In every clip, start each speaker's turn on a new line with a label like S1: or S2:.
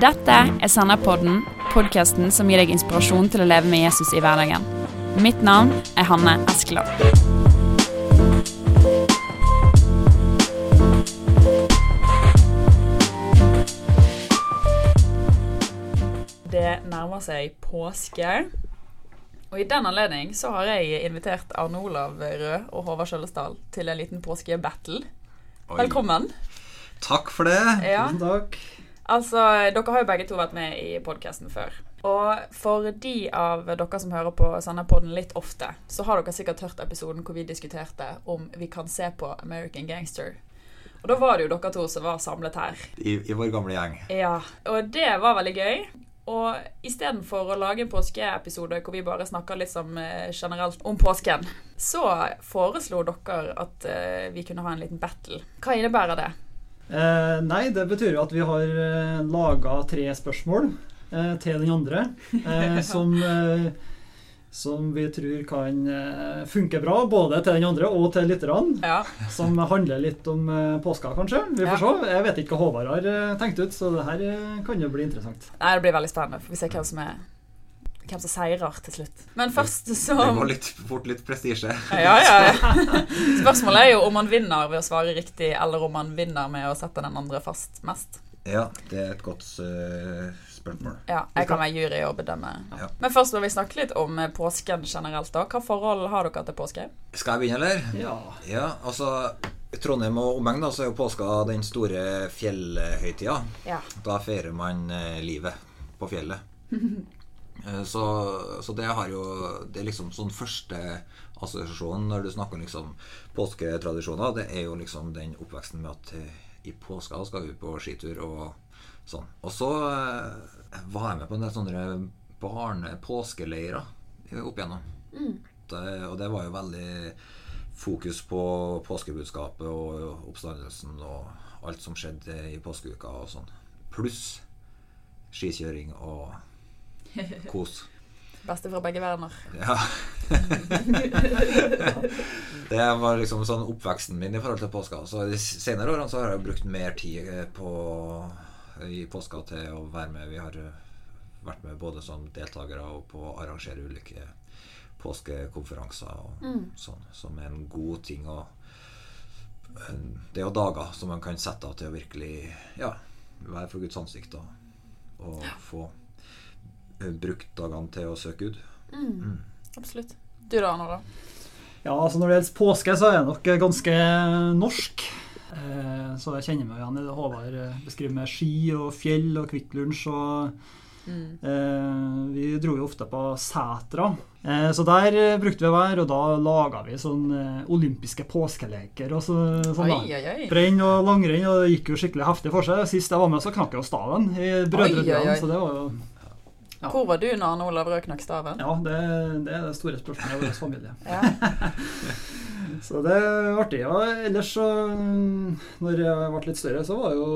S1: Dette er Senderpodden, podkasten som gir deg inspirasjon til å leve med Jesus i hverdagen. Mitt navn er Hanne Eskeland.
S2: Det nærmer seg påske. Og i den anledning så har jeg invitert Arne Olav Rød og Håvard Kjøllesdal til en liten påskebattle.
S3: Oi.
S2: Velkommen.
S3: Takk for det.
S2: Ja.
S4: Tusen takk.
S2: Altså, dere har jo begge to vært med i podkasten før. Og for de av dere som hører på Sanderpodden litt ofte, så har dere sikkert hørt episoden hvor vi diskuterte om vi kan se på American Gangster. Og da var det jo dere to som var samlet her.
S3: I, I vår gamle gjeng.
S2: Ja, og det var veldig gøy. Og istedenfor å lage en påskeepisode hvor vi bare snakker litt som eh, generelt om påsken, så foreslo dere at eh, vi kunne ha en liten battle. Hva innebærer det?
S4: Eh, nei, det betyr jo at vi har eh, laga tre spørsmål eh, til den andre eh, som, eh, som vi tror kan eh, funke bra både til den andre og til lytterne.
S2: Ja,
S4: Som handler litt om eh, påska, kanskje. Vi får
S2: Ja.
S4: se. Jeg vet ikke hva Håvard har eh, tenkt ut, så det her eh, kan jo bli interessant.
S2: Nei, det blir veldig spennende. Får vi se hvem som er hvem som seirer til slutt. Men først så
S3: Det går litt fort litt prestisje.
S2: ja, ja, ja. Spørsmålet er jo om man vinner ved å svare riktig, eller om man vinner med å sette den andre fast mest.
S3: Ja, det er et godt eh, spørsmål.
S2: Ja, jeg kan være jury og bedømme.
S3: Ja.
S2: Men først må vi snakke litt om eh, påsken generelt. da. Hva forhold har dere til påske?
S3: Skal jeg begynne, eller?
S4: Ja.
S3: Ja, altså i Trondheim og omegn da, så er jo påska den store fjellhøytida.
S2: Ja.
S3: Da feirer man eh, livet på fjellet. Eh, Så, så det har jo Det er liksom sånn første assosiasjon når du snakker om liksom påsketradisjoner. Det er jo liksom den oppveksten med at eh, i påska skal vi på skitur og sånn. Og så eh, var jeg med på en del sånne barne-påskeleirer opp igjennom. Det, eh, og det var jo veldig fokus på påskebudskapet og oppstandelsen og alt som skjedde i påskeuka og sånn. Pluss skikjøring og kos.
S2: Beste fra begge verdener.
S3: Ja. det var liksom sånn oppveksten min i forhold til påska. Så de senere årene så har jeg jo brukt mer tid eh, på, i påska til å være med. Vi har eh, vært med både som deltakere og på å arrangere ulike påskekonferanser og sånn, som er en god ting å en- Det er jo dager som man kan sette av til å virkelig ja, være for Guds ansikt og, og få eh, brukt dagene til å søke Gud.
S2: Mm.
S3: Mm.
S2: Absolutt. Du da, Anna? da?
S4: Ja, altså Når det gjelder påske, så er jeg nok eh, ganske norsk. Eh, Så jeg kjenner meg igjen i det Håvard eh, beskriver med ski og fjell og Kvikk Lunsj. Og
S2: Mm.
S4: eh, vi dro jo ofte på Sætra. Eh, så der eh, brukte vi å være, og da laga vi sånn eh, olympiske påskeleker. og så, sånn
S2: Oi, oi, oi.
S4: Brenn og langrenn, og det gikk jo skikkelig heftig for seg. Sist jeg var med, så knakk jeg jo staven
S2: Oi,
S4: i
S2: oi, oi.
S4: brødredelen. Så det var jo Ja.
S2: Hvor var du når Arne Olav Røe knakk staven?
S4: Ja, det, det er det store spørsmålet i vår familie.
S2: Ja.
S4: Så det er artig. Ja. Ellers så mm, Når jeg ble litt større, så var jo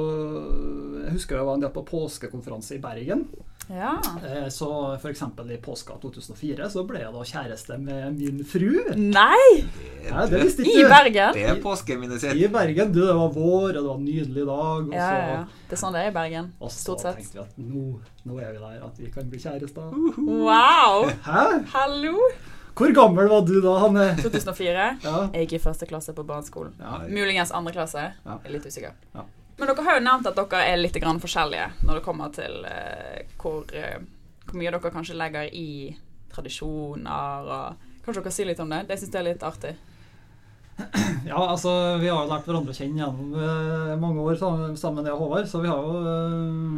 S4: Jeg husker jeg var en del på påskekonferanse i Bergen.
S2: ja.
S4: Eh, Så f.eks. i påska 2004 så ble jeg da kjæreste med min fru.
S2: Nei!
S4: Ja, det visste
S2: I
S4: ikke du.
S2: Bergen?
S3: Det er påskeminnet sitt.
S4: I Bergen. Du, det var vår, og det var en nydelig dag. Og
S2: Ja, ja, ja.
S4: så,
S2: Det er sånn det er i Bergen.
S4: og så
S2: Stort sett.
S4: tenkte vi at nå, nå er vi der, at vi kan bli kjærester.
S2: Wow!
S4: Hæ?
S2: Hallo!
S4: Hvor gammel var du da, Hanne?
S2: 2004.
S4: Ja.
S2: Jeg gikk i første klasse på barneskolen.
S4: Ja.
S2: Muligens andre klasse.
S4: Ja.
S2: Jeg er litt usikker.
S4: Ja.
S2: Men dere har jo nevnt at dere er litt grann forskjellige når det kommer til eh, hvor, eh, hvor mye dere kanskje legger i tradisjoner og Kanskje dere sier litt om det? Det syns jeg er litt artig.
S4: Ja, altså, vi har jo lært hverandre å kjenne gjennom eh, mange år sammen, sammen med deg og Håvard, så vi har jo eh,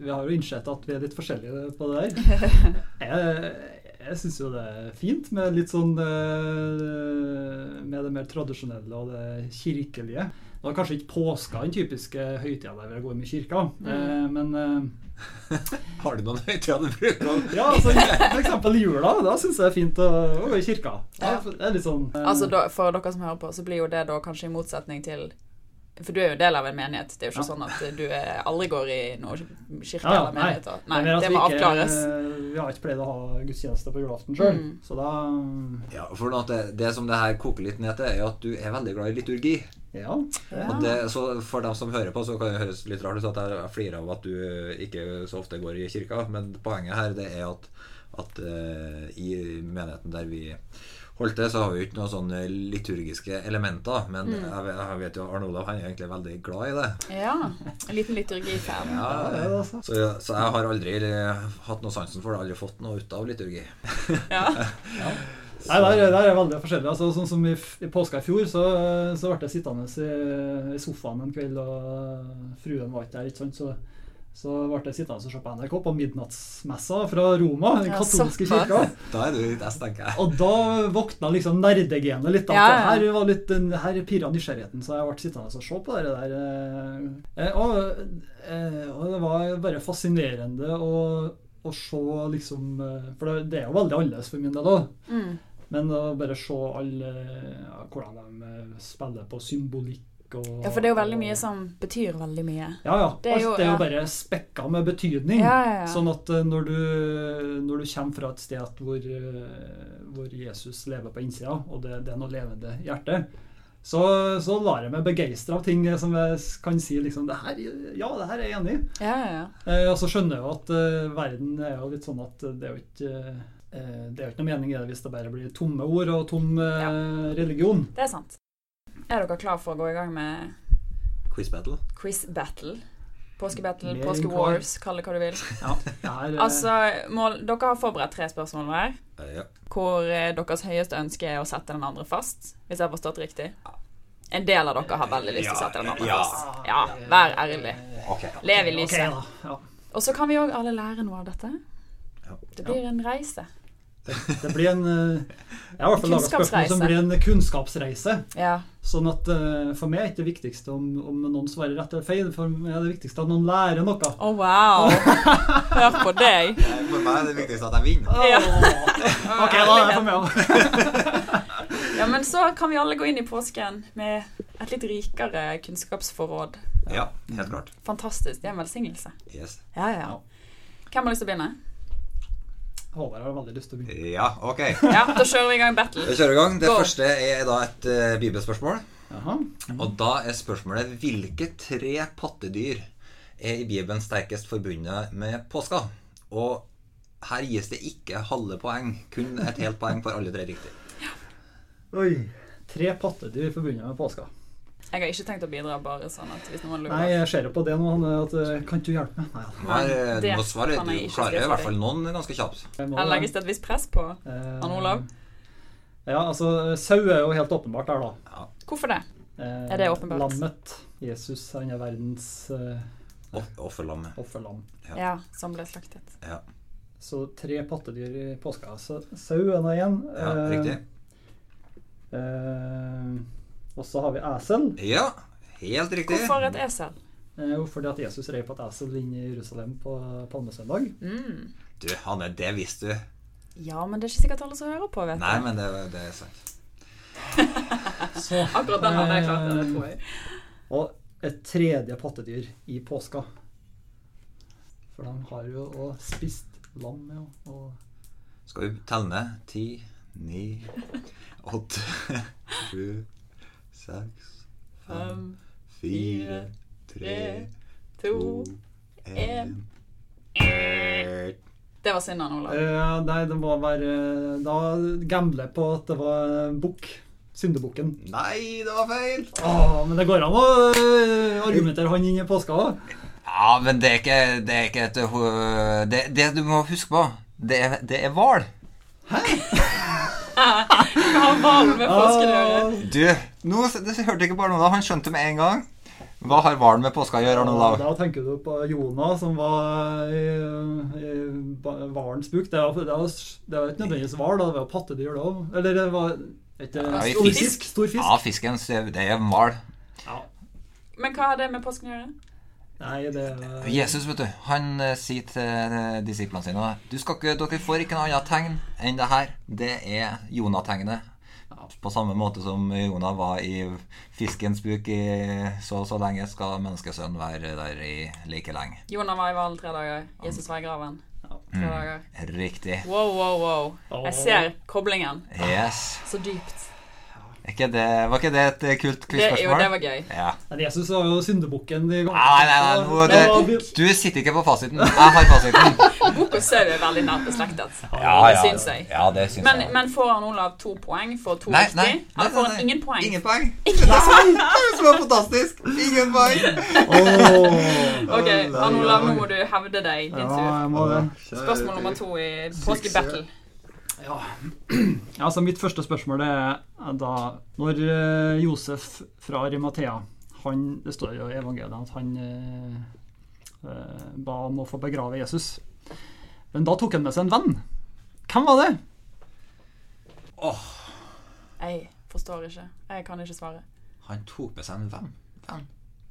S4: vi har jo innsett at vi er litt forskjellige på det der. Jeg, jeg syns jo det er fint med litt sånn eh, Med det mer tradisjonelle og det kirkelige. Det var kanskje ikke påska den typiske høytida der vi går med kirka, eh, men eh,
S3: Har du noen høytider du bruker?
S4: ja, altså, for eksempel jula. Da syns jeg det er fint å, å gå i kirka. Ja, det er litt sånn eh,
S2: Altså da, For dere som hører på, så blir jo det da kanskje i motsetning til For du er jo del av en menighet. Det er jo ikke sånn at du er, aldri går i noe kirke
S4: Ja, ja,
S2: eller menighet. og- Nei,
S4: er mer at
S2: det
S4: vi
S2: må
S4: ikke-
S2: avklares. Mm.
S4: Vi har ikke pleid å ha gudstjeneste på julaften sjøl, så da
S3: Ja, for noe at det, det som det her koker litt ned til, er jo at du er veldig glad i liturgi.
S4: Ja.
S3: Og det, så for dem som hører på, så kan det høres litt rart ut at jeg flirer av at du ikke så ofte går i kirka, men poenget her det er at, at eh, i menigheten der vi holdt det, så har vi jo ikke noen sånne liturgiske elementer. Men
S4: Mm.
S3: jeg, vet- jeg vet jo Arne Olav han er egentlig veldig glad i det.
S2: Ja. En liten liturgifan.
S3: Ja,
S4: Ja, det er det, altså.
S3: så, så jeg har aldri eh, hatt noe sansen for det, aldri fått noe ut av liturgi.
S2: Ja.
S4: Nei, der, der er veldig forskjellig. Altså, sånn som i, f- i påska i fjor, så, så ble jeg sittende i, i sofaen en kveld, og fruen var ikke der, ikke sant. Så, så ble jeg sittende og se på NRK på midnattsmessa fra Roma, den
S2: Ja,
S4: katolske
S2: såpass.
S4: kirka.
S3: Da er du litt S, tenker jeg.
S4: Og da våkna liksom nerdegenet litt. At
S2: Ja, ja.
S4: Her, var litt, her pirra nysgjerrigheten, så jeg ble sittende og se på det der. eh, eh, Og, eh, og det var bare fascinerende å, å se liksom eh, For det- det er jo veldig annerledes for min del òg.
S2: Mm.
S4: Men å bare se alle ja, hvordan de eh, spiller på symbolikk og
S2: ja, for det er jo veldig mye som betyr veldig mye.
S4: Ja, ja.
S2: Det er jo-
S4: Alt er jo
S2: ja.
S4: bare spekka med
S3: Mm.
S4: betydning.
S2: Ja, ja, ja.
S4: Sånn at eh, når du, når du kommer fra et sted at hvor, eh, hvor Jesus lever på innsida, og det, det er noe levende hjerte, så, så lar jeg meg begeistre av ting eh, som jeg s- kan si liksom det her, Ja, det her er jeg enig i.
S2: Ja, ja, ja.
S4: Eh, og så skjønner jeg jo at eh, verden er jo litt sånn at det er jo ikke eh, det er jo ikke noe mening i det hvis det bare blir tomme ord og tom eh, religion.
S2: Det er sant. Er dere klar for å gå i gang med
S3: Quiz battle.
S2: quiz battle? Påskebattle,
S4: Mer enn
S2: påske
S4: klar.
S2: wars, kall det hva du vil.
S4: Ja, det her, eh,
S2: Altså, mål, Dere har forberedt tre spørsmål hver,
S3: Eh, Ja.
S2: hvor eh, deres høyeste ønske er å sette den andre fast. Hvis jeg har forstått riktig? En del av dere har veldig lyst til å sette den andre
S3: Ja.
S2: fast. Ja, vær ærlig.
S3: Ok.
S2: Lev i
S4: ah, eh, ok,
S2: lyset.
S4: da. Ja.
S2: Og så kan vi òg alle lære noe av dette.
S3: Ja.
S2: Det blir en reise.
S4: Det blir en eh, Jeg har i hvert fall laga spørsmål som
S2: Kunnskapsreise.
S4: blir en kunnskapsreise.
S2: Ja.
S4: Sånn at eh, for meg er ikke det viktigste om, om noen svarer rett eller feil, for meg er det viktigste at noen lærer noe.
S2: Å, Oh, wow! Hør på deg.
S3: For meg er det viktigste at jeg vinner.
S2: Ja.
S4: Ok, da er jeg for meg også.
S2: Ja, men så kan vi alle gå inn i påsken med et litt rikere kunnskapsforråd.
S3: Ja, helt klart.
S2: Fantastisk. Det er en velsignelse.
S3: Yes.
S2: Ja, ja. Hvem har lyst til å begynne?
S4: Håvard har veldig lyst til å begynne.
S3: Ja, ok.
S2: Ja, Da kjører vi i gang
S3: Vi
S2: battle.
S3: kjører i gang. Det
S2: Go.
S3: første er da et eh, bibelspørsmål.
S4: Jaha.
S3: Og da er spørsmålet hvilke tre pattedyr er i Bibelen sterkest forbundet med påska? Og her gis det ikke halve poeng, kun et helt poeng for alle tre riktig.
S4: Oi. Tre pattedyr forbundet med påska.
S2: Jeg har ikke tenkt å bidra, bare sånn at hvis noen
S4: Nei,
S2: lurer
S4: jeg ser jo på det nå. Han, eh, at, eh, kan ikke du hjelpe meg? Nei, ja.
S3: Du har, eh,
S2: Det
S3: du må svare.
S2: kan
S3: Du
S2: jeg ikke
S3: klarer
S2: svare
S3: i
S2: for.
S3: hvert fall noen ganske kjapt.
S4: Jeg må-
S2: Her legges det et visst press på.
S4: Eh,
S2: Ann Olav?
S4: Ja, altså, sau er jo helt åpenbart der, da.
S2: Hvorfor det?
S4: Eh,
S2: Er det åpenbart?
S4: Lammet. Jesus, han er verdens eh,
S3: Off- Offerlammet.
S4: offerlam.
S3: Ja.
S2: Ja, som ble slaktet.
S3: Ja,
S4: Så tre pattedyr i påska. Så sau er nå igjen.
S3: ja
S4: Eh,
S3: riktig.
S4: Eh, og så har vi esel.
S3: Ja, helt riktig.
S2: Hvorfor et esel?
S4: Eh, jo, fordi at Jesus rei på et esel inn i Jerusalem på palmesøndag.
S2: Mm.
S3: Du, Hanne, det visste du.
S2: Ja, men det er ikke sikkert alle som hører på, vet
S3: Nei,
S2: du.
S3: men det, det er sant.
S4: Så,
S2: Akkurat den hadde jeg klart. Det tror jeg.
S4: og et tredje pattedyr i påska. For de har jo og spist lam. Ja, og
S3: Skal vi telle ned? Ti, ni, åtte, sju, seks, fem,
S2: Fem,
S3: fire, tre,
S2: tre,
S3: to,
S2: to
S3: én
S2: Det var synd, Ann Olav.
S4: Eh, nei, det må være Da gambler jeg på at det var bukk. Syndebukken.
S3: Nei, det var feil!
S4: Åh, men det går an å eh, argumentere han inn i påska òg.
S3: Ja, men det er ikke, det er ikke et ho- det, det du må huske på, det er, det er hval.
S2: Hva har hval med påsken å
S4: Ah.
S2: gjøre?
S3: Du, nå s- det hørte ikke bare noe da. Han skjønte med en gang. Hva har hvalen med påska å gjøre, Arne
S4: Ja,
S3: Olav?
S4: Da tenker du på Jonah som var i, i ba- hvalens buk. Det var, det, var, det var ikke nødvendigvis hval, da, det var pattedyr da òg. Eller det var ikke,
S3: Ja, i
S4: stor
S3: fisk.
S4: fisk. Stor fisk.
S3: Ja, fisken. så Det det er en hval.
S4: Ja.
S2: Men hva har det med påsken å gjøre?
S4: Nei, det
S3: Jesus, vet du, han eh, sier til eh, disiplene sine du skal ikke, Dere får ikke noe annet tegn enn det her. Det er Jonah-tegnet. På samme måte som Jonah var i fiskens buk i så og så lenge, skal menneskesønnen være der i like lenge.
S2: Jonah var i hvalen tre dager. Jesus var i graven
S4: Ja.
S3: Mm.
S2: tre dager.
S3: Riktig.
S2: Wow, wow, wow.
S4: Åh.
S2: Jeg ser koblingen.
S3: Yes.
S2: Så dypt.
S3: Er ikke det, var ikke det et eh,
S2: Det,
S3: kult
S2: jo, det
S3: quizspørsmål?
S2: var gøy.
S3: Ja.
S4: Men Jesus var jo syndebukken de gangene.
S3: Nei, nei, nei, nå,
S4: Det var-
S3: det, du sitter ikke på fasiten. Jeg har fasiten.
S2: Bok og sau er veldig nært beslektet. Det syns jeg.
S3: Ja, det syns
S2: Men,
S3: jeg.
S2: men får han Olav to poeng for to
S3: Nei,
S2: riktig?
S3: nei, nei,
S2: Eller får han
S3: nei.
S2: ingen poeng?
S3: Ingen poeng. Det er sant. Det er jo så fantastisk. Ingen poeng.
S4: Åh.
S2: Ok,
S3: Å,
S2: han
S3: nei,
S2: Olav, nå
S3: nei.
S2: må du hevde deg. Din
S4: Ja,
S2: tur.
S4: jeg må det.
S2: Spørsmål nummer to i påskebattle.
S4: Ja. Ja, altså mitt første spørsmål det er da Når eh, Josef fra Arimathea han, Det står jo i evangeliet at han eh, eh, ba om å få begrave Jesus. Men da tok han med seg en venn. Hvem var det?
S2: Jeg forstår ikke. Jeg kan ikke svare.
S3: Han tok med seg en venn. venn.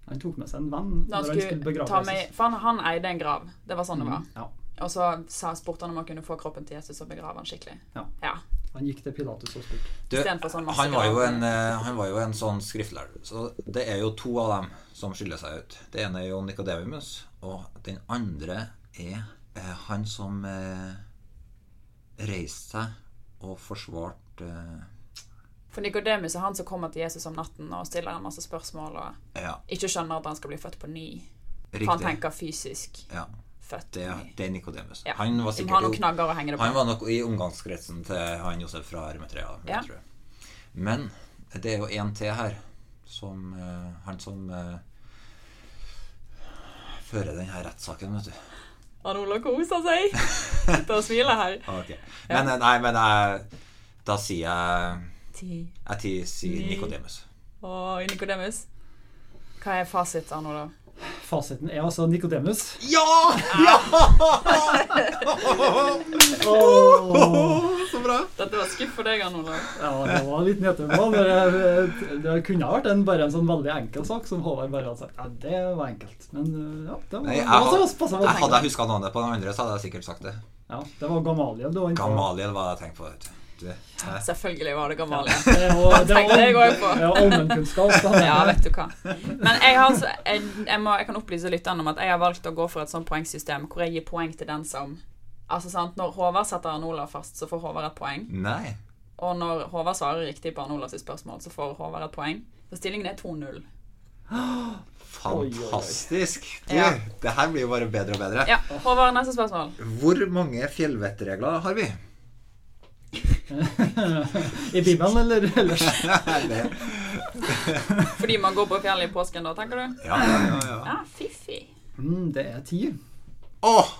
S4: Han tok med seg en venn
S2: Da han skulle ta meg, for han, han eide en grav. Det var sånn det var.
S4: Ja.
S2: Og så sa, spurte han om han kunne få kroppen til Jesus og begrave han skikkelig.
S4: Ja.
S2: ja.
S4: Han gikk til Pilatus og spurte.
S3: Du,
S2: Istedenfor sånn masse
S3: han, var jo
S2: graver.
S3: en, eh, han var jo en sånn skriftlærer. Så det er jo to av dem som skiller seg ut. Det ene er jo Nikodemus, og den andre er eh, han som eh, reiste seg og forsvarte eh,
S2: For Nikodemus er han som kommer til Jesus om natten og stiller han masse spørsmål og
S3: eh, Ja,
S2: ikke skjønner at han skal bli født på ny. For han
S3: riktig.
S2: tenker fysisk
S3: Ja,
S2: født
S3: det,
S2: på ny.
S3: det er Nikodemus.
S2: Ja.
S3: Han var
S2: Som har noen
S3: sikkert jo-
S2: knagger å henge det
S3: Han
S2: på.
S3: var nok i omgangskretsen til han Josef fra Hermetrea.
S2: Ja.
S3: Men det er jo en til her. Som, eh, han som eh, fører denne rettssaken, vet du.
S2: Han Olav koser seg. Sitter og smiler her.
S3: Ok. Men eh, nei, men jeg, da sier jeg
S2: Ti.
S3: Jeg ti- sier
S2: Ni.
S3: Nikodemus.
S2: Og Nikodemus. Hva er fasit, Arne Olav?
S4: Fasiten er altså Nikodemus.
S3: Ja! ja! Så bra.
S2: Dette var skuff for deg, Arne Olav.
S4: Ja, det var litt nedturball. men jeg- Det kunne ha vært en, bare en sånn veldig enkel sak som Håvard bare hadde sagt. Ja, det var enkelt. Men eh, ja, det var,
S3: Nei,
S4: det
S3: jeg,
S4: var
S3: had-
S4: så passe
S3: jeg hadde
S4: enkelt.
S3: jeg huska navnet på den andre, så hadde jeg sikkert sagt det.
S4: Ja, det var Gamaliel du var inne på.
S3: Gamaliel var det jeg tenkte på. Vet du. du. Nei.
S2: Selvfølgelig var det Gamaliel.
S4: Det var, det
S2: Tenkte jeg
S4: var,
S2: også på.
S4: ja, allmennkunnskap. da.
S2: Ja, vet du hva. Men jeg, har, altså- jeg, jeg, må, jeg kan opplyse lytterne om at jeg har valgt å gå for et sånt poengsystem hvor jeg gir poeng til den som Altså sant, Når Håvard setter Arne Olav fast, så får Håvard et poeng.
S3: Nei.
S2: Og når Håvard svarer riktig på Arne Olavs spørsmål, så får Håvard et poeng. Så stillingen er 2-0.
S3: Fantastisk. Du,
S2: Ja.
S3: det her blir jo bare bedre og bedre.
S2: Ja, Håvard, neste spørsmål.
S3: Hvor mange fjellvettregler har vi?
S4: I Bibelen eller ellers?
S3: Det-
S2: Fordi man går på fjellet i påsken da, tenker du?
S3: ja, ja, ja. ja.
S2: Ja, fiffig.
S4: Mm, det er ti.
S3: Åh,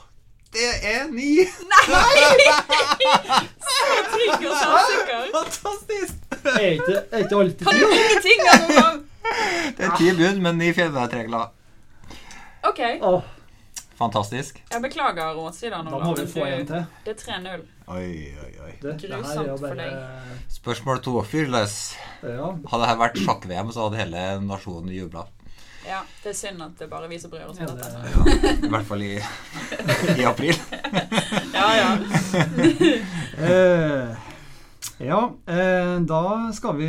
S3: det er ni!
S2: Trygg og selvsikker.
S3: Fantastisk!
S4: Er ikke, er ikke alltid
S2: Kan
S4: ti?
S2: du ingenting, altså? Arne Olav?
S3: Det er ti bunn, men ni fjellvettregler.
S2: OK.
S4: Åh,
S3: Fantastisk.
S2: Jeg beklager rådsida, Arne
S4: da
S2: Olav.
S4: må vi
S2: men
S4: få en
S2: du-
S4: til.
S2: Det er 3-0.
S3: Oi, oi, oi.
S4: Det, det her er jo
S2: Grusomt for
S4: bare
S3: Spørsmål to. Fyrløs.
S4: Ja.
S3: Hadde dette vært sjakk-VM, så hadde hele nasjonen jubla.
S2: Ja, det er synd at det er bare vi som bryr oss om
S4: Ja,
S2: dette.
S4: det-
S3: I hvert fall i, i april.
S2: Ja, ja.
S4: Eh, ja, eh, da skal vi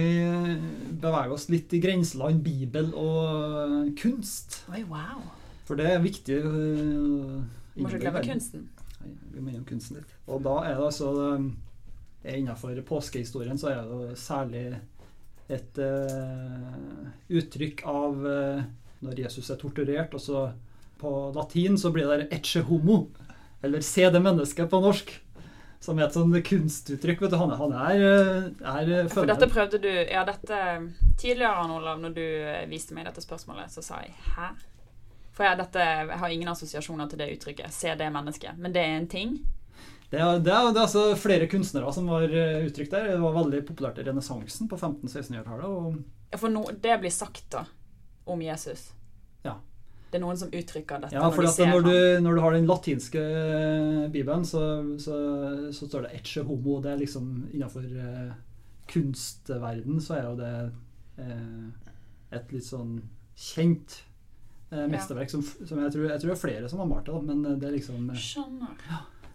S4: bevege oss litt i grenseland Bibel og kunst.
S2: Oi, wow.
S4: For det er viktig. eh,
S2: Du må ikke glemme kunsten.
S4: Nei, Vi må innom kunsten litt. Og da er det altså eh, Innenfor påskehistorien så er det jo særlig et eh, uttrykk av eh, når Jesus er torturert, og så på latin så blir det 'ecce homo', eller 'se det mennesket' på norsk. Som er et sånn kunstuttrykk. vet du, Han, han er, eh, er eh,
S2: For
S4: følger-
S2: dette prøvde du Ja, dette Tidligere, Arne Olav, når du eh, viste meg dette spørsmålet, så sa jeg hæ? For jeg, dette, jeg har ingen assosiasjoner til det uttrykket. Se det mennesket. Men det er en ting.
S4: Det er, det, er, det er altså flere kunstnere som var eh, uttrykt der. Det var veldig populært i renessansen på 1500-1600-tallet. og
S2: Ja, For no, det blir sagt, da, om Jesus.
S4: Ja.
S2: Det er noen som uttrykker dette
S4: Ja, for
S2: når de
S4: at
S2: ser
S4: når,
S2: ham.
S4: du, når du har den latinske eh, bibelen, så, så, så står det 'ecce homo'. Det er liksom innenfor eh, kunstverden så er jo det eh, et litt sånn kjent eh, mesterverk som, f- som jeg, tror, jeg tror det er flere som har malt det, da, men eh, det er liksom eh,
S2: Skjønner.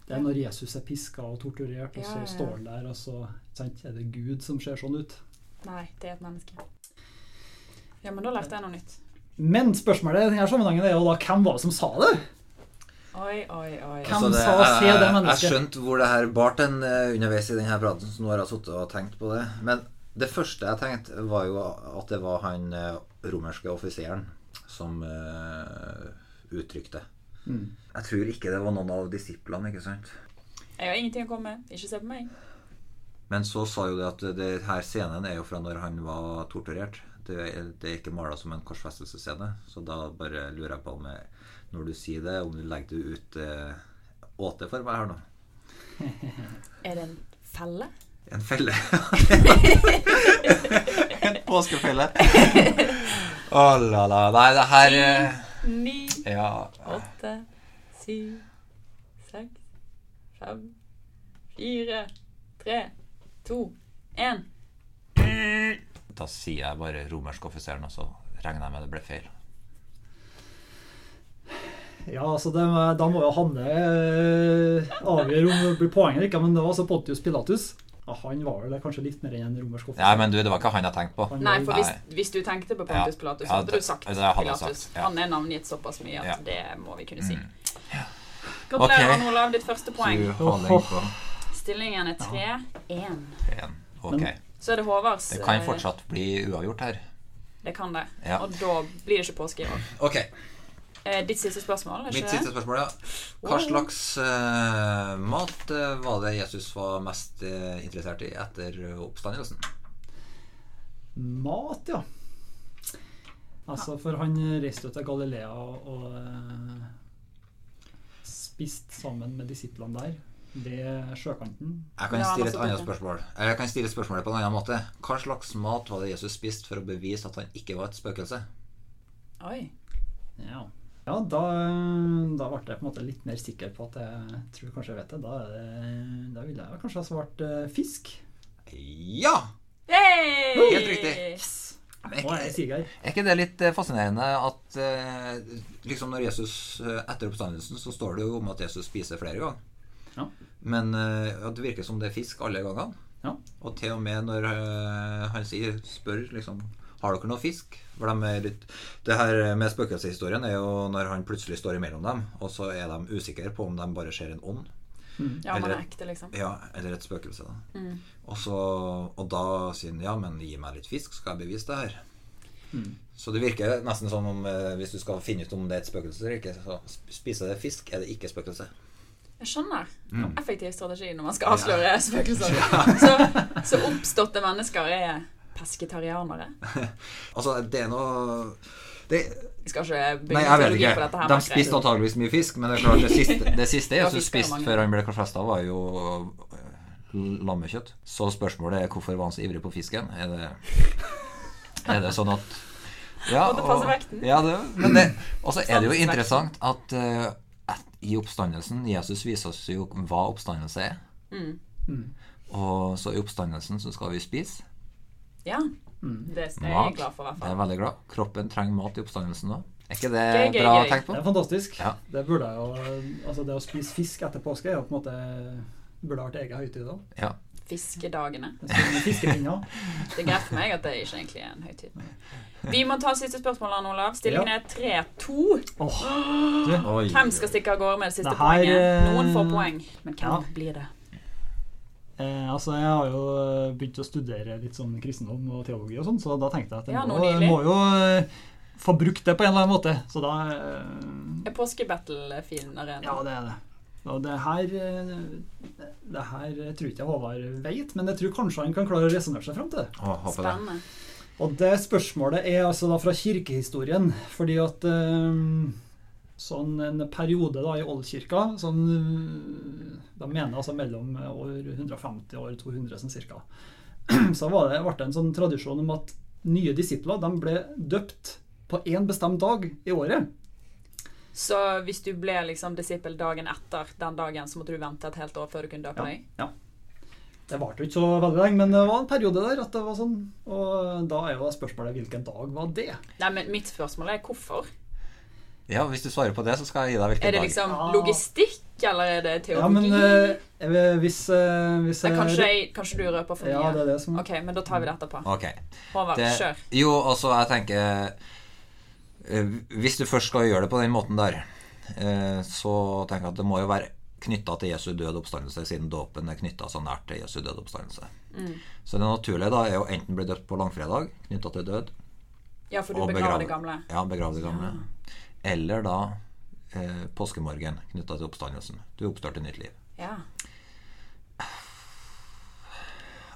S4: Det er når Jesus er piska og torturert, og
S2: Ja,
S4: så
S2: ja, ja.
S4: står han der, og så sant, er det Gud som ser sånn ut.
S2: Nei, det er et menneske. Ja, men da lærte jeg noe nytt.
S4: Men spørsmålet i denne sammenhengen er jo da hvem var det som sa det?
S2: Oi, oi, oi.
S4: Hvem sa se det
S3: Altså, jeg- Jeg
S4: mennesket?
S3: skjønte hvor det her bart en eh, underveis i denne praten, så nå har jeg sittet og tenkt på det. Men Det første jeg tenkte, var jo at det var han eh, romerske offiseren som eh, uttrykte.
S4: Mm.
S3: Jeg tror ikke det var noen av disiplene, ikke sant?
S2: Jeg har ingenting å komme med. Ikke se på meg.
S3: Men så sa jo det at det her scenen er jo fra når han var torturert. Det er, det er ikke mala som en korsfestelsesscene. Så da bare lurer jeg på om jeg, når du sier det, om du legger det ut eh, åte for meg her nå.
S2: Er det en felle?
S3: En felle. en påskefelle. Å la la. Nei, det her eh,
S2: Ni,
S3: Ja.
S2: åtte, syv, seks, fem, fire, tre, to, én.
S3: Da sier jeg bare romersk offiseren, og så regner jeg med det ble feil.
S4: Ja, altså det, Da må jo Hanne eh, avgjøre om det blir poeng eller ikke, men det var altså Pontius Pilatus. Ja, han var vel kanskje litt mer enn en romersk offiser.
S3: Nei, men du, det var ikke han jeg tenkte på.
S4: Han
S2: Nei, for hvis,
S3: Nei.
S2: hvis du tenkte på Pontus
S3: Ja.
S2: Pilatus,
S3: Ja,
S2: hadde
S3: det-
S2: du sagt
S3: det hadde jeg
S2: Pilatus.
S3: sagt, ja.
S2: Han er navngitt såpass mye at
S3: Ja.
S2: det må vi kunne si.
S3: Mm.
S2: Gratulerer,
S3: Ok.
S2: Arne Olav. Ditt første poeng.
S3: Du holder på
S2: Stillingen er 3-1.
S3: en. Ok.
S2: Så er det Håvards.
S3: Det kan
S2: eh,
S3: fortsatt bli uavgjort her.
S2: Det kan det.
S3: Ja.
S2: Og da blir det ikke påske i år.
S3: Ok,
S2: Eh, Ditt siste spørsmål, er
S3: Mitt
S2: ikke det?
S3: siste spørsmål, ja. Hva slags eh, mat eh, var det Jesus var mest eh, interessert i etter eh, oppstandelsen?
S4: Mat, ja. Altså, for han reiste jo til Galilea og eh, spiste sammen med disiplene der ved sjøkanten.
S3: Jeg kan
S2: Ja,
S3: stille et
S2: masse
S3: annet
S2: bedre.
S3: spørsmål. Eller jeg kan stille spørsmålet på en annen måte. Hva slags mat var det Jesus spiste for å bevise at han ikke var et spøkelse?
S2: Oi.
S4: Ja, ja da, da ble jeg på en måte litt mer sikker på at jeg tror kanskje jeg vet det. Da, er det, da ville jeg kanskje ha svart eh, fisk.
S3: Ja!
S2: Hey!
S3: Helt riktig.
S4: Yes!
S3: Men
S4: Nå er jeg
S3: Er ikke,
S4: siger.
S3: er ikke det litt eh, fascinerende at eh, liksom når Jesus eh, etter oppstandelsen, så står det jo om at Jesus spiser flere ganger.
S4: Ja.
S3: Men eh, at det virker som det er fisk alle gangene.
S4: Ja.
S3: Og til og med når eh, han sier, spør liksom Har dere noe fisk? For de er litt, det her med spøkelseshistorien er jo når han plutselig står imellom dem, og så er de usikre på om de bare ser en ånd.
S2: Ja, man
S3: Eller-
S2: er ekte, liksom.
S3: Ja, eller et spøkelse, da.
S2: Mm.
S3: Og, så, og da sier han ja, men gi meg litt fisk, skal jeg bevise det her.
S4: Mm.
S3: Så det virker nesten som om eh, hvis du skal finne ut om det er et spøkelse eller ikke, så sp- spiser det fisk, er det ikke spøkelse.
S2: Jeg skjønner.
S3: Mm.
S2: Effektiv strategi når man skal avsløre spøkelser. Så, så oppståtte mennesker er pesketarianere.
S3: Altså, det er noe det,
S2: Vi skal ikke
S3: Nei,
S2: begynne
S3: jeg vet
S2: teologi
S3: ikke.
S2: på dette her.
S3: De
S2: merker jeg.
S3: spiste antageligvis mye fisk, men det er klart det siste, det siste
S2: Ja,
S3: Jesus
S2: fisk er det
S3: spiste
S2: mange.
S3: før han ble korsfesta, var jo eh, lammekjøtt. Så spørsmålet er hvorfor var han så ivrig på fisken? Er det, er det sånn at ja,
S2: Måtte passe vekten.
S3: ja, det, men det, og så er det jo
S2: Samsvekten.
S3: interessant at eh, at i oppstandelsen Jesus viser oss jo hva oppstandelse er.
S2: Mm.
S3: Og så i oppstandelsen så skal vi spise.
S2: Ja.
S4: Mm.
S2: Det er jeg
S3: Mat.
S2: glad for, i hvert
S3: Jeg
S2: fall.
S3: er veldig glad. Kroppen trenger mat i oppstandelsen òg. Er ikke det
S2: Gøy, gøy,
S3: bra
S2: gøy.
S3: tenkt
S4: Det
S3: på?
S4: er fantastisk.
S3: Ja.
S4: Det burde jeg jo, altså det å spise fisk etter påske er jo på en måte burde ha vært egen høytid da.
S3: Ja.
S2: Fiskedagene.
S4: En sånn med Fiskepinner.
S2: Det er greit for meg at det ikke egentlig er en høytid. Vi må ta siste spørsmål, Arne Olav. Stillingen er 3-2.
S4: Åh,
S3: Oi.
S2: Hvem skal stikke av gårde med det siste
S4: Det her,
S2: poenget?
S4: eh,
S2: Noen får poeng, men hvem
S4: ja.
S2: blir det?
S4: eh, altså jeg har jo begynt å studere litt sånn kristendom og teologi og sånn, så da tenkte jeg at jeg
S2: Ja, nå
S4: må,
S2: nylig.
S4: må jo eh, få brukt det på en eller annen måte. Så da eh,
S2: Er påskebattle fin arena?
S4: Ja, det er det. Og det her, eh, det her tror ikke jeg Håvard vet, men jeg tror kanskje han kan klare å resonnere seg fram til det.
S3: Å, håper det.
S2: Spennende.
S4: Og det spørsmålet er altså da fra kirkehistorien, fordi at eh, sånn en periode da i oldkirka, sånn, eh, da mener jeg altså mellom år 150 og år 200 sånn cirka, så var det, ble det en sånn tradisjon om at nye disipler de ble døpt på én bestemt dag i året.
S2: Så hvis du ble liksom disippel dagen etter den dagen, så måtte du vente et helt år før du kunne døpe deg?
S4: Ja. Det varte jo ikke så veldig lenge, men det var en periode der at det var sånn. Og da er jo da spørsmålet hvilken dag var det?
S2: Nei, men mitt spørsmål er hvorfor?
S3: Ja, hvis du svarer på det, så skal jeg gi deg hvilken
S2: Er det
S3: dag.
S2: liksom
S4: Ja.
S2: logistikk, eller er det teologi?
S4: Ja, men eh, eh, hvis, eh, hvis
S2: Nei,
S4: eh,
S2: kanskje, jeg, kanskje du røper for mye?
S4: Ja, det er det som
S2: Ok, men da tar vi det etterpå.
S3: Ok.
S2: Håvard,
S3: Det,
S2: kjør.
S3: jo, altså, jeg tenker eh, Hvis du først skal gjøre det på den måten der, eh, så tenker jeg at det må jo være knytta til Jesu død oppstandelse, siden dåpen er knytta så nært til Jesu død oppstandelse.
S2: Mm.
S3: Så det naturlige da er å enten bli døpt på langfredag, knytta til død,
S2: Ja, for du
S3: og
S2: begraver
S3: begrave-
S2: det gamle.
S3: Ja, begrave det gamle. Eller da eh, påskemorgen knytta til oppstandelsen. Du oppstår til nytt liv.
S2: Ja.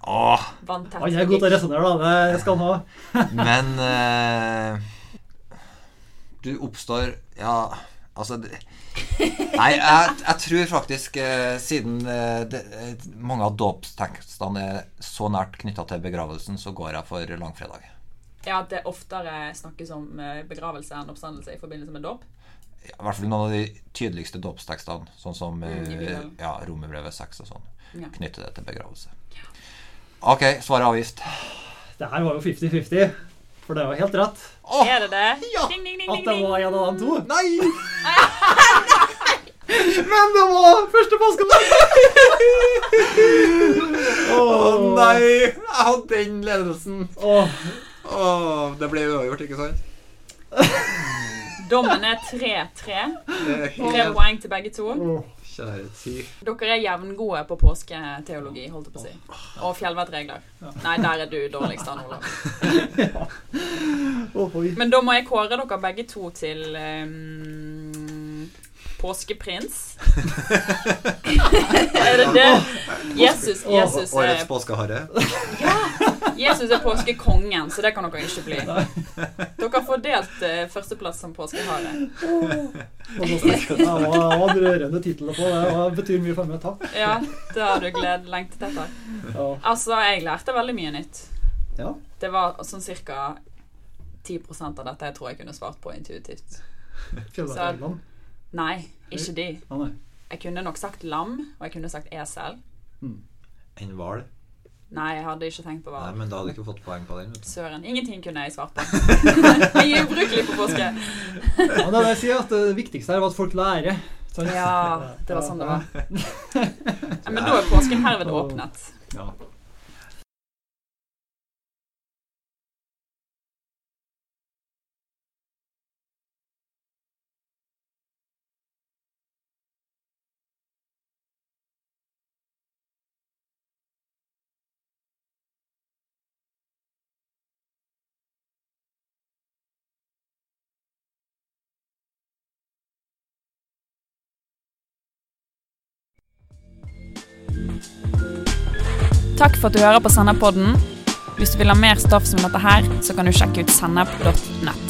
S3: Åh,
S2: Vanntett.
S4: Han er god til å resonnere, da. Det skal han ha.
S3: men eh, Du oppstår Ja, altså det- Nei, jeg, jeg tror faktisk, eh, siden eh, det, eh, mange av dåpstekstene er så nært knytta til begravelsen, så går jeg for langfredag.
S2: Ja, at det oftere snakkes om eh, begravelse enn oppstandelse i forbindelse med dåp.
S3: I hvert fall noen av de tydeligste dåpstekstene, sånn som
S2: Mm, i
S3: eh,
S2: Bibelen.
S3: ja, Romerbrevet 6 og sånn,
S2: Ja.
S3: knytter det til begravelse. Ok, svaret er avgift.
S4: Det her var jo 50-50, for det var helt rett
S3: Åh,
S2: Er det det?
S3: Ja!
S2: Ding, ding, ding,
S4: at
S2: ding,
S4: det
S2: ding.
S4: var en av de to.
S3: Nei!
S4: Men det var første påskedag!
S3: Å nei! Jeg hadde den ledelsen.
S4: Åh,
S3: Åh, det ble uavgjort, ikke sant?
S2: Dommen er 3-3.
S3: Det er
S2: Tre
S3: helt-
S2: poeng til begge to.
S4: åh.
S3: Kjære tid.
S2: Dere er jevngode på påsketeologi, holdt jeg på å si. Og fjellvettregler. Nei, der er du dårligst, Dan Olav.
S4: Åh, oi.
S2: Men da må jeg kåre dere begge to til ehm, påskeprins. er det det? Jesus, Jesus,
S3: Å- Årets
S2: er,
S3: påskeharre.
S2: Jesus er påskekongen, så det kan dere ikke bli. Dere får delt eh, førsteplass som påskehare.
S4: Fantastisk. Det var, det var en rørende tittel å få. Det var, betyr mye for meg. Takk.
S2: Ja, det har du gled, lengtet etter.
S4: Ja.
S2: Altså, jeg lærte veldig mye nytt.
S4: Ja.
S2: Det var sånn cirka 10 av dette jeg tror jeg kunne svart på intuitivt.
S4: Fjellvettreglene.
S2: Nei, ikke de.
S4: Ja, nei.
S2: Jeg kunne nok sagt lam, og jeg kunne sagt esel.
S4: Mm.
S3: En hval.
S2: Nei, jeg hadde ikke tenkt på hva.
S3: Nei, men da hadde du ikke fått poeng på den. vet du.
S2: Søren. Ingenting kunne jeg svart på. jeg er ubrukelig på påske.
S4: Ja, men det er det jeg sier, at det viktigste her var at folk lærer. sant?
S2: Ja, det var sånn det var.
S4: Ja.
S2: Nei, Men da er påsken herved åpnet.
S4: Ja.
S1: Takk for at du hører på Senderpodden. Hvis du vil ha mer stoff som dette her, så kan du sjekke ut sennep.nett.